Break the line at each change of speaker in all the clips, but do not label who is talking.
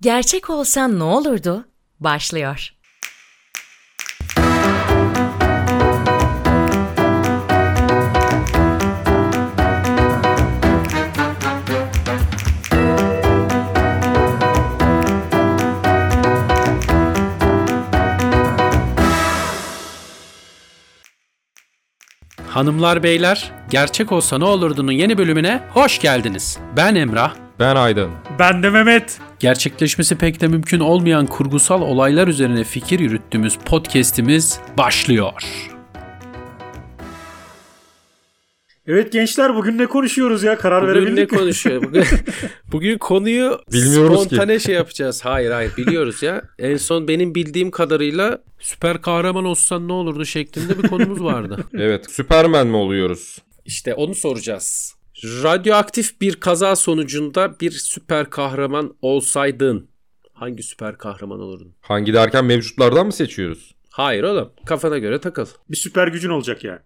Gerçek olsan ne olurdu? Başlıyor.
Hanımlar beyler, Gerçek Olsa Ne Olurdu'nun yeni bölümüne hoş geldiniz. Ben Emrah.
Ben Aydın.
Ben de Mehmet.
Gerçekleşmesi pek de mümkün olmayan kurgusal olaylar üzerine fikir yürüttüğümüz podcast'imiz başlıyor.
Evet gençler bugün ne konuşuyoruz ya karar
Bugün ne
verebildik mi?
konuşuyor? Bugün, bugün konuyu
Bilmiyoruz
spontane şey yapacağız. Hayır hayır biliyoruz ya. En son benim bildiğim kadarıyla süper kahraman olsan ne olurdu şeklinde bir konumuz vardı.
Evet. Süpermen mi oluyoruz?
işte onu soracağız. Radyoaktif bir kaza sonucunda bir süper kahraman olsaydın hangi süper kahraman olurdun?
Hangi derken mevcutlardan mı seçiyoruz?
Hayır oğlum kafana göre takıl.
Bir süper gücün olacak yani.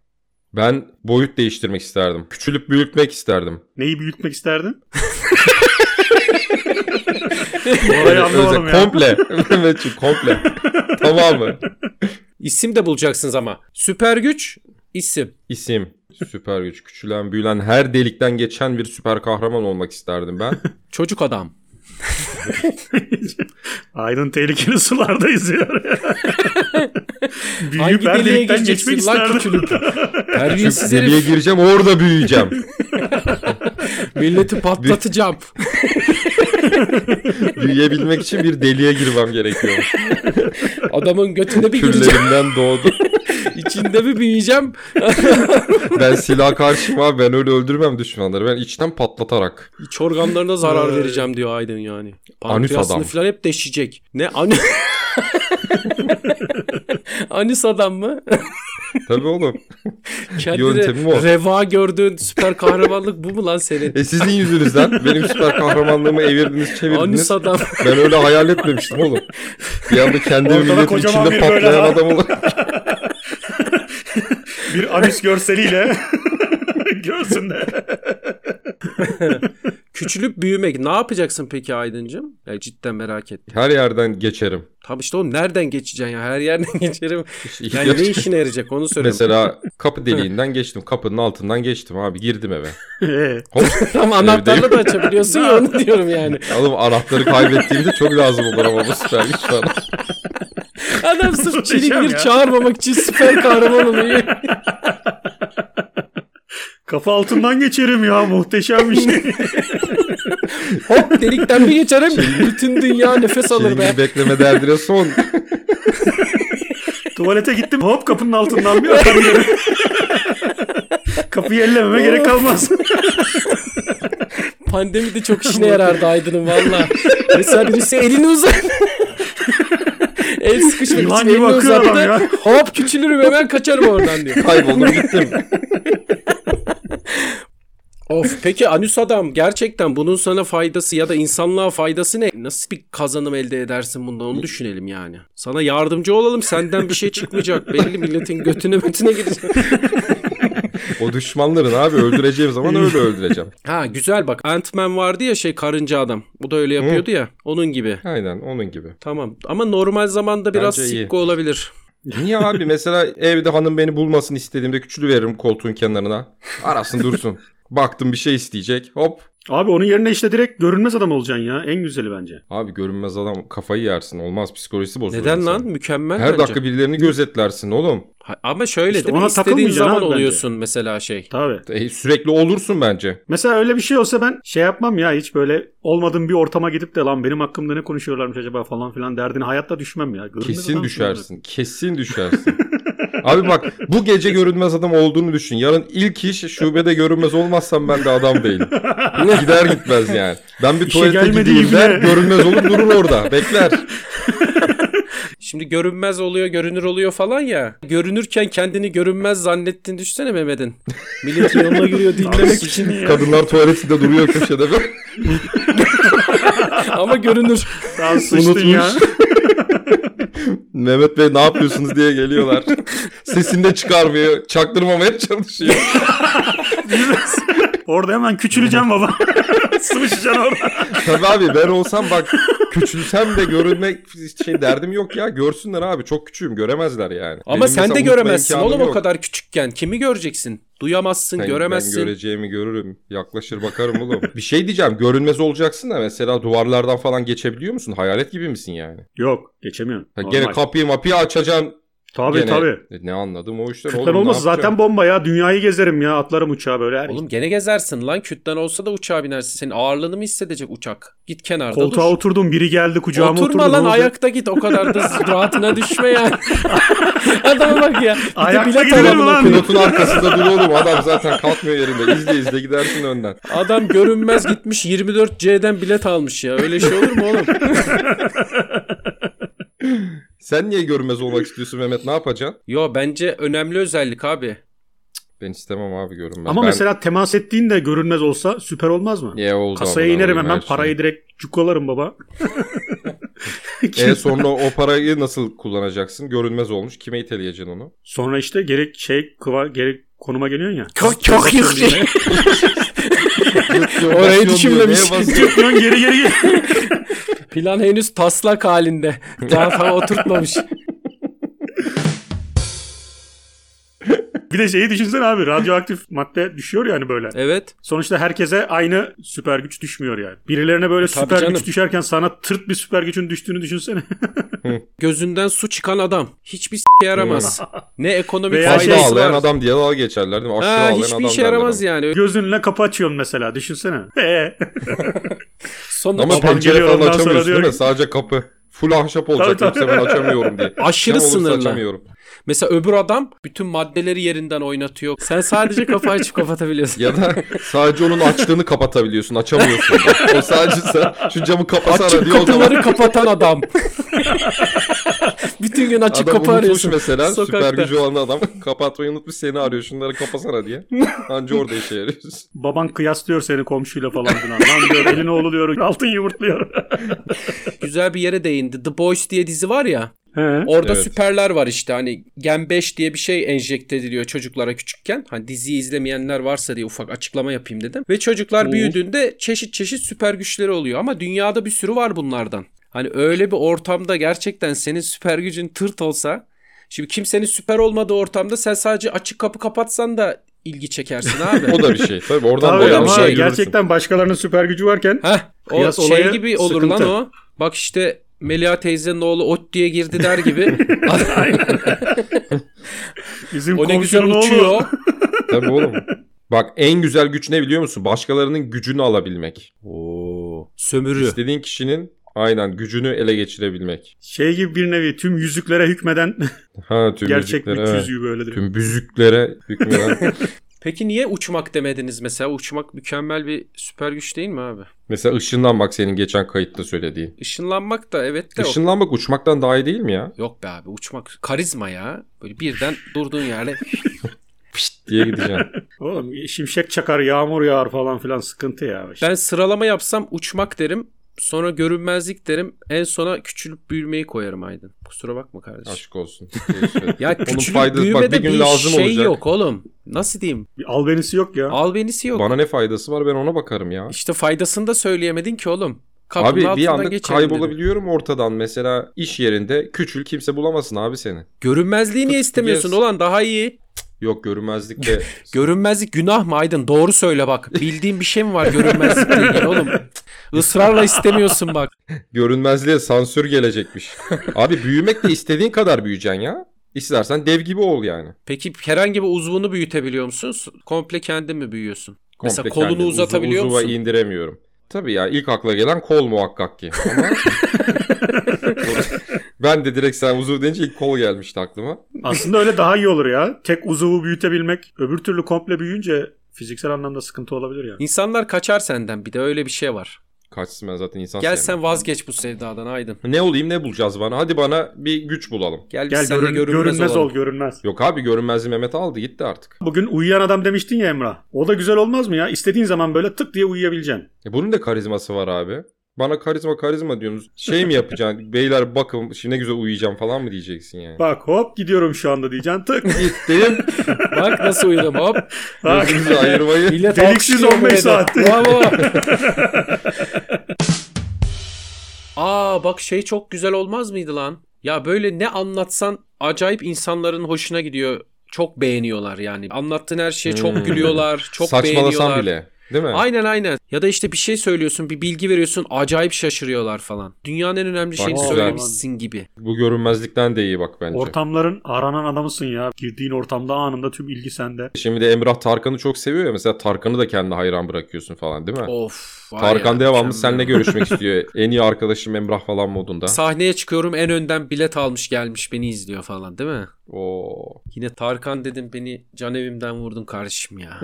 Ben boyut değiştirmek isterdim. Küçülüp büyütmek isterdim.
Neyi büyütmek isterdin? Orayı
Öyle-
anlamadım
öyle-
ya.
Komple. Mehmetciğim komple. Tamamı.
İsim de bulacaksınız ama. Süper güç isim.
İsim. Süper güç. Küçülen, büyülen, her delikten geçen bir süper kahraman olmak isterdim ben.
Çocuk adam.
Aydın tehlikeli sulardayız ya. Büyüyüp
Hangi
her
deliğe
delikten geçmek
gireceksin lan
isterdim.
küçülüp? Terbiyesiz herif.
Deliğe gireceğim orada büyüyeceğim.
Milleti patlatacağım.
Büyüyebilmek için bir deliğe girmem gerekiyor.
Adamın götüne bir gireceğim.
Küllerimden doğdu.
İçinde bir büyüyeceğim.
Ben silah karşıma abi, ben öyle öldürmem düşmanları. Ben içten patlatarak.
İç organlarına zarar vereceğim diyor Aydın yani.
Anüs Ee, adam.
Pankreasını falan hep deşecek. Ne anüs? Anüs adam mı?
Tabii oğlum. Yöntemi
Kendine
o.
reva gördüğün süper kahramanlık bu mu lan senin?
E sizin yüzünüzden benim süper kahramanlığımı evirdiniz çevirdiniz.
Anüs adam.
Ben öyle hayal etmemiştim oğlum. Bir anda kendimi
Ortada
milletin
kocaman
içinde
bir böyle
patlayan
ha.
adam olarak.
Bir anüs görseliyle göğsünde.
Küçülüp büyümek. Ne yapacaksın peki Aydıncım? Ya cidden merak ettim.
Her yerden geçerim.
Tam işte oğlum nereden geçeceksin ya? Her yerden geçerim. Yani ne
Yani
işine yarayacak onu söyle.
Mesela kapı deliğinden geçtim. Kapının altından geçtim abi. Girdim eve.
Ee,
Hop.
Ama anahtarla da açabiliyorsun ya onu diyorum yani.
Oğlum anahtarı kaybettiğimde çok lazım olur ama bu süper güç bana.
Adam
Şey
sırf
Muhteşem
çilingir
ya.
çağırmamak için süper kahraman oluyor.
kafa altından geçerim ya muhteşem bir şey.
Hop delikten bir geçerim. Bütün dünya nefes
Şey
alır be.
Çilingir bekleme derdine son.
Tuvalete gittim hop kapının altından bir atarım geri. Kapıyı ellememe gerek kalmaz.
Pandemi de çok işine yarardı Aydın'ın valla. Mesela birisi elini uzat. El sıkışmak
Yılan
için
gibi
elini
akıyor adam ya.
uzattı. Hop küçülürüm hemen kaçarım oradan diyor.
Kayboldum gittim.
Of peki Anüs adam gerçekten bunun sana faydası ya da insanlığa faydası ne? Nasıl bir kazanım elde edersin bundan onu düşünelim yani. Sana yardımcı olalım senden bir şey çıkmayacak. Belli milletin götüne götüne gidecek.
O düşmanların abi öldüreceğim zaman öyle öldüreceğim.
Ha güzel bak Ant-Man vardı ya şey karınca adam. Bu da öyle yapıyordu ya onun gibi.
Aynen onun gibi.
Tamam ama normal zamanda biraz
Bence iyi.
sikko olabilir.
Niye abi mesela evde hanım beni bulmasın istediğimde küçülü veririm koltuğun kenarına. Arasın dursun. Baktım bir şey isteyecek. Hop.
Abi onun yerine işte direkt görünmez adam olacaksın ya. En güzeli bence.
Abi görünmez adam kafayı yersin. Olmaz psikolojisi bozulur.
Neden
insanın.
lan? Mükemmel
Her
bence.
dakika birilerini gözetlersin oğlum.
Ha- Ama şöyle
İşte
değil mi?
ona
İstediğin
takılmayacaksın
zaman
abi bence.
oluyorsun mesela şey.
Tabii.
E, sürekli olursun bence.
Mesela öyle bir şey olsa ben şey yapmam ya hiç böyle olmadığım bir ortama gidip de lan benim hakkımda ne konuşuyorlarmış acaba falan filan derdine hayatta düşmem ya. Görünmez
Kesin
adam
düşersin. Kesin düşersin. Abi bak bu gece görünmez adam olduğunu düşün. Yarın ilk iş şubede görünmez olmazsam ben de adam değilim. Gider gitmez yani. Ben bir
İşe
tuvalete
gelmediği
gideyim der
güne.
görünmez olur durur orada. Bekler.
Şimdi görünmez oluyor, görünür oluyor falan ya. Görünürken kendini görünmez zannettin düşsene Mehmet'in. Millet yoluna giriyor dinlemek için
Kadınlar tuvaletinde duruyor köşede. böyle.
ama görünür.
Daha sıçtın ya.
Mehmet Bey ne yapıyorsunuz diye geliyorlar. Sesini de çıkarmıyor. Çaktırmamaya çalışıyor.
Orada hemen küçüleceğim baba. Sıvışacaksın orada.
Tabii abi ben olsam bak küçülsem de görünmek şey derdim yok ya. Görsünler abi çok küçüğüm göremezler yani.
Ama
Benim
sen
mesela
de
unutma
göremezsin
imkanım
oğlum o
yok.
kadar küçükken. Kimi göreceksin? Duyamazsın,
Ben-
göremezsin.
Ben göreceğimi görürüm. Yaklaşır bakarım oğlum. bir şey diyeceğim. Görünmez olacaksın da mesela duvarlardan falan geçebiliyor musun? Hayalet gibi misin yani?
Yok geçemiyorsun.
Ha,
Normal.
gene kapıyı mapıyı açacaksın.
tabii
gene.
tabii.
E, ne anladım o işten
Kütlen
ne
olmasa
yapacağım?
zaten bomba ya. Dünyayı gezerim ya. Atlarım uçağa böyle. Her
Oğlum gene gezersin lan. Kütten olsa da uçağa binersin. Senin ağırlığını mı hissedecek uçak? Git kenarda
Koltuğa
dur.
oturdum biri geldi kucağıma
Oturma
oturdu. ne
lan
olacak?
ayakta git. O kadar da rahatına düşme yani. Adama bak ya. Bir de
Ayakta
bilet
gidelim
alalım.
lan.
Pilotun arkasında dur oğlum. Adam zaten kalkmıyor yerinde. İzle izle gidersin önden.
Adam görünmez gitmiş 24C'den bilet almış ya. Öyle şey olur mu oğlum?
Sen niye görünmez olmak istiyorsun Mehmet? Ne yapacaksın?
Yo bence önemli özellik abi.
Ben istemem abi görünmez.
Ama
Ben-
mesela temas ettiğin de görünmez olsa süper olmaz mı?
Ya oldu
Kasaya
amına
inerim
koyayım
hemen
her
parayı direkt cukolarım baba.
şey. E sonra o parayı nasıl kullanacaksın? Görünmez olmuş. Kime iteleyeceksin onu?
Sonra işte gerek şey kıva gerek konuma geliyorsun ya.
Çok çok yüksek. Orayı düşünmemiş.
Çıkıyorsun geri geri geri.
Plan henüz taslak halinde. Daha tam oturtmamış.
Bir de şeyi düşünsene abi radyoaktif madde düşüyor yani böyle.
Evet.
Sonuçta herkese aynı süper güç düşmüyor yani. Birilerine böyle
E, tabii
süper
canım.
güç düşerken sana tırt bir süper gücün düştüğünü düşünsene.
Gözünden su çıkan adam. Hiçbir s**e yaramaz. ne ekonomik
Veya
faydası
Fayda
şey-
ağlayan
var.
adam diye dalga geçerler değil mi? Aşırı
Ha,
ağlayan adam
hiçbir işe yaramaz
derler
yani.
Gözünle kapı açıyorsun mesela düşünsene. Ee,
Sonra
ama. Ama
Babam
pencere
geliyor,
falan
ondan sonra
açamıyorsun
diyor
değil mi?
ki-
Sadece kapı. Full ahşap olacak
Tabii, tabii.
yoksa ben açamıyorum diye.
Aşırı
Cam olursa
sınırlı.
açamıyorum.
mesela öbür adam bütün maddeleri yerinden oynatıyor. Sen sadece kafa açıp kapatabiliyorsun.
Ya da sadece onun açtığını kapatabiliyorsun. Açamıyorsun. da. o sadece sen şu camı kapasana
Açık
diyor o zaman.
kapıları kapatan adam. bütün gün açık
adam
kapı
unutmuş
arıyorsun.
mesela süper
Sokakta.
gücü olan adam kapatmayı unutmuş seni arıyor şunları kapasana diye. Anca orada işe yarıyorsun.
baban kıyaslıyor seni komşuyla falan filan. Lan diyor elini oğlu diyor altın yumurtluyor.
Güzel bir yere değindi. The Boys diye dizi var ya.
He.
Orada
Evet.
süperler var işte hani Gen 5 diye bir şey enjekte ediliyor çocuklara küçükken. Hani diziyi izlemeyenler varsa diye ufak açıklama yapayım dedim. Ve çocuklar büyüdüğünde çeşit çeşit süper güçleri oluyor ama dünyada bir sürü var bunlardan. Hani öyle bir ortamda gerçekten senin süper gücün tırt olsa şimdi kimsenin süper olmadığı ortamda sen sadece açık kapı kapatsan da ilgi çekersin abi.
O da bir şey. Tabii oradan
Tabii
da
ama
yanlış şey görürsün.
gerçekten başkalarının süper gücü varken
Heh, o
Kıyas
şey
olayı
gibi olur
sıkıntı.
lan o. Bak işte Melia teyzenin oğlu ot diye girdi der gibi.
bizim
o ne güzel
komşunun
uçuyor.
oğlu
Tabii oğlum. Bak en güzel güç ne biliyor musun? Başkalarının gücünü alabilmek.
Oo, sömürü.
İstediğin kişinin aynen gücünü ele geçirebilmek.
şey gibi bir nevi tüm yüzüklere hükmeden
Ha tüm
gerçek
müziklere,
güç
evet.
yüzüğü böyledir.
Tüm büzüklere hükmeden.
Peki niye uçmak demediniz mesela? Uçmak mükemmel bir süper güç değil mi abi?
Mesela ışınlanmak senin geçen kayıtta söylediğin.
Işınlanmak da evet de yok.
Işınlanmak uçmaktan daha iyi değil mi ya?
Yok be abi uçmak karizma ya. Böyle birden durduğun yerde
Pişt diye gideceksin.
Oğlum şimşek çakar, yağmur yağar falan filan sıkıntı ya.
ben sıralama yapsam uçmak derim. Sonra görünmezlik derim. En sona küçülüp büyümeyi koyarım Aydın. Kusura bakma kardeşim.
Aşk olsun. Değişmedi.
Ya
Onun
küçülüp
faydası- bak
büyümede
bir
bir,
gün lazım
şey
olacak.
yok oğlum. Nasıl diyeyim?
Bir Albenisi yok ya.
Albenisi yok.
Bana ne faydası var ben ona bakarım ya.
İşte faydasını da söyleyemedin ki oğlum. Kapının
Abi bir
altından
anda
geçerim dedim.
kaybolabiliyorum ortadan. Mesela iş yerinde küçül kimse bulamasın abi seni.
Görünmezliği niye istemiyorsun
Biliyorsun.
ulan daha iyi.
Yok görünmezlik de
Görünmezlik günah mı Aydın? Doğru söyle bak. Bildiğin bir şey mi var görünmezlikle ilgili oğlum? Israrla istemiyorsun bak.
görünmezliğe sansür gelecekmiş. abi büyümek de istediğin kadar büyüyeceksin ya. İstersen dev gibi ol yani.
Peki herhangi bir uzvunu büyütebiliyor musun? Komple kendin mi büyüyorsun? Mesela
Komple
kolunu
kendini uzu-
uzatabiliyor
uzuva
musun?
indiremiyorum. Tabii ya ilk akla gelen kol muhakkak ki. Ama... ben de direkt sen uzuv deyince ilk kol gelmişti aklıma.
Aslında öyle daha iyi olur ya. Tek uzuvu büyütebilmek. Öbür türlü komple büyüyünce fiziksel anlamda sıkıntı olabilir yani.
İnsanlar kaçar senden bir de öyle bir şey var.
Kaçsın ben zaten insan
Gel
sevmem.
sen vazgeç bu sevdadan Aydın.
Ne olayım ne bulacağız bana? Hadi bana bir güç bulalım.
Gel biz
Gel
seninle
görün- görünmez,
görünmez,
ol
olalım.
görünmez.
Yok abi görünmezliği Mehmet aldı gitti artık.
Bugün uyuyan adam demiştin ya Emrah. O da güzel olmaz mı ya? İstediğin zaman böyle tık diye uyuyabileceksin.
E bunun da karizması var abi. Bana karizma karizma diyorsunuz. Şey mi yapacaksın? Beyler bakın şimdi ne güzel uyuyacağım falan mı diyeceksin yani?
Bak hop gidiyorum şu anda diyeceksin tık.
Gittim.
Bak nasıl uyudum hop.
Bak.
Gözümüzü ayırmayı.
Millet
Deliksiz
alkışlıyor
15
beni.
saat.
Bravo. Aa bak şey çok güzel olmaz mıydı lan? Ya böyle ne anlatsan acayip insanların hoşuna gidiyor. Çok beğeniyorlar yani. Anlattığın her şeye çok
Hmm.
gülüyorlar. Çok
Saçmalasan
beğeniyorlar.
bile. Değil mi?
Aynen aynen. Ya da işte bir şey söylüyorsun, bir bilgi veriyorsun, acayip şaşırıyorlar falan. Dünyanın en önemli
Bak,
şeyini
güzel.
söylemişsin gibi.
Bu görünmezlikten de iyi bak bence.
Ortamların aranan adamısın ya. Girdiğin ortamda anında tüm ilgi sende.
Şimdi de Emrah Tarkan'ı çok seviyor ya. Mesela Tarkan'ı da kendine hayran bırakıyorsun falan değil mi?
Of. var
Tarkan
Oh, ya,
devamlı
mükemmel.
seninle görüşmek istiyor. En iyi arkadaşım Emrah falan modunda.
Sahneye çıkıyorum en önden bilet almış gelmiş beni izliyor falan değil mi?
Oo.
Yine Tarkan dedim beni can evimden vurdun kardeşim ya.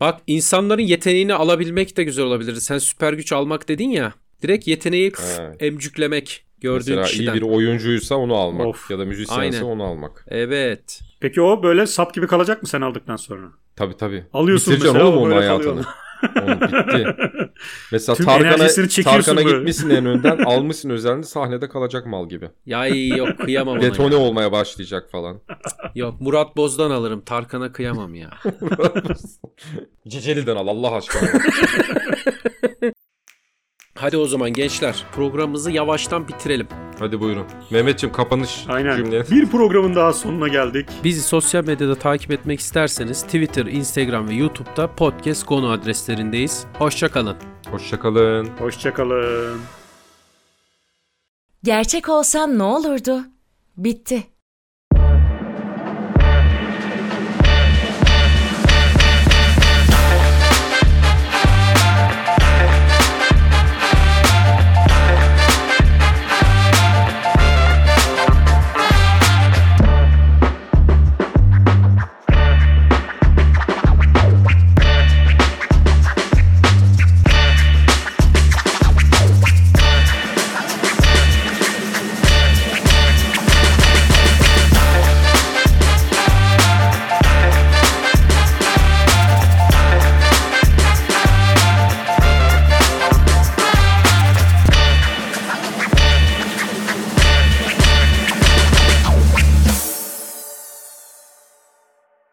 Bak insanların yeteneğini alabilmek de güzel olabilir. Sen süper güç almak dedin ya. Direkt yeteneği pf,
Evet.
emcüklemek gördüğün
Mesela iyi
kişiden.
bir oyuncuysa onu almak
Of.
ya da
Aynen.
müzisyense onu almak.
Evet.
Peki o böyle sap gibi kalacak mı sen aldıktan sonra?
Tabii tabii.
Alıyorsun
Bitireceksin
mesela,
oğlum
o
onun
böyle
hayatını. Onun bitti. Mesela
Tüm enerjisini
Tarkan'a
çekiyorsun
Tarkan'a
böyle.
gitmişsin en önden almışsın özelliğini sahnede kalacak mal gibi.
Yay yok kıyamam ona
Detone
ya.
olmaya başlayacak falan.
Yok Murat Boz'dan alırım. Tarkan'a kıyamam ya.
Ceceli'den al Allah aşkına.
Hadi o zaman gençler programımızı yavaştan bitirelim.
Hadi buyurun. Mehmetçim kapanış
Aynen.
cümleni.
Bir programın daha sonuna geldik.
Bizi sosyal medyada takip etmek isterseniz Twitter, Instagram ve YouTube'da podcast konu adreslerindeyiz. Hoşçakalın.
Hoşçakalın.
Hoşçakalın.
Gerçek olsan ne olurdu? Bitti.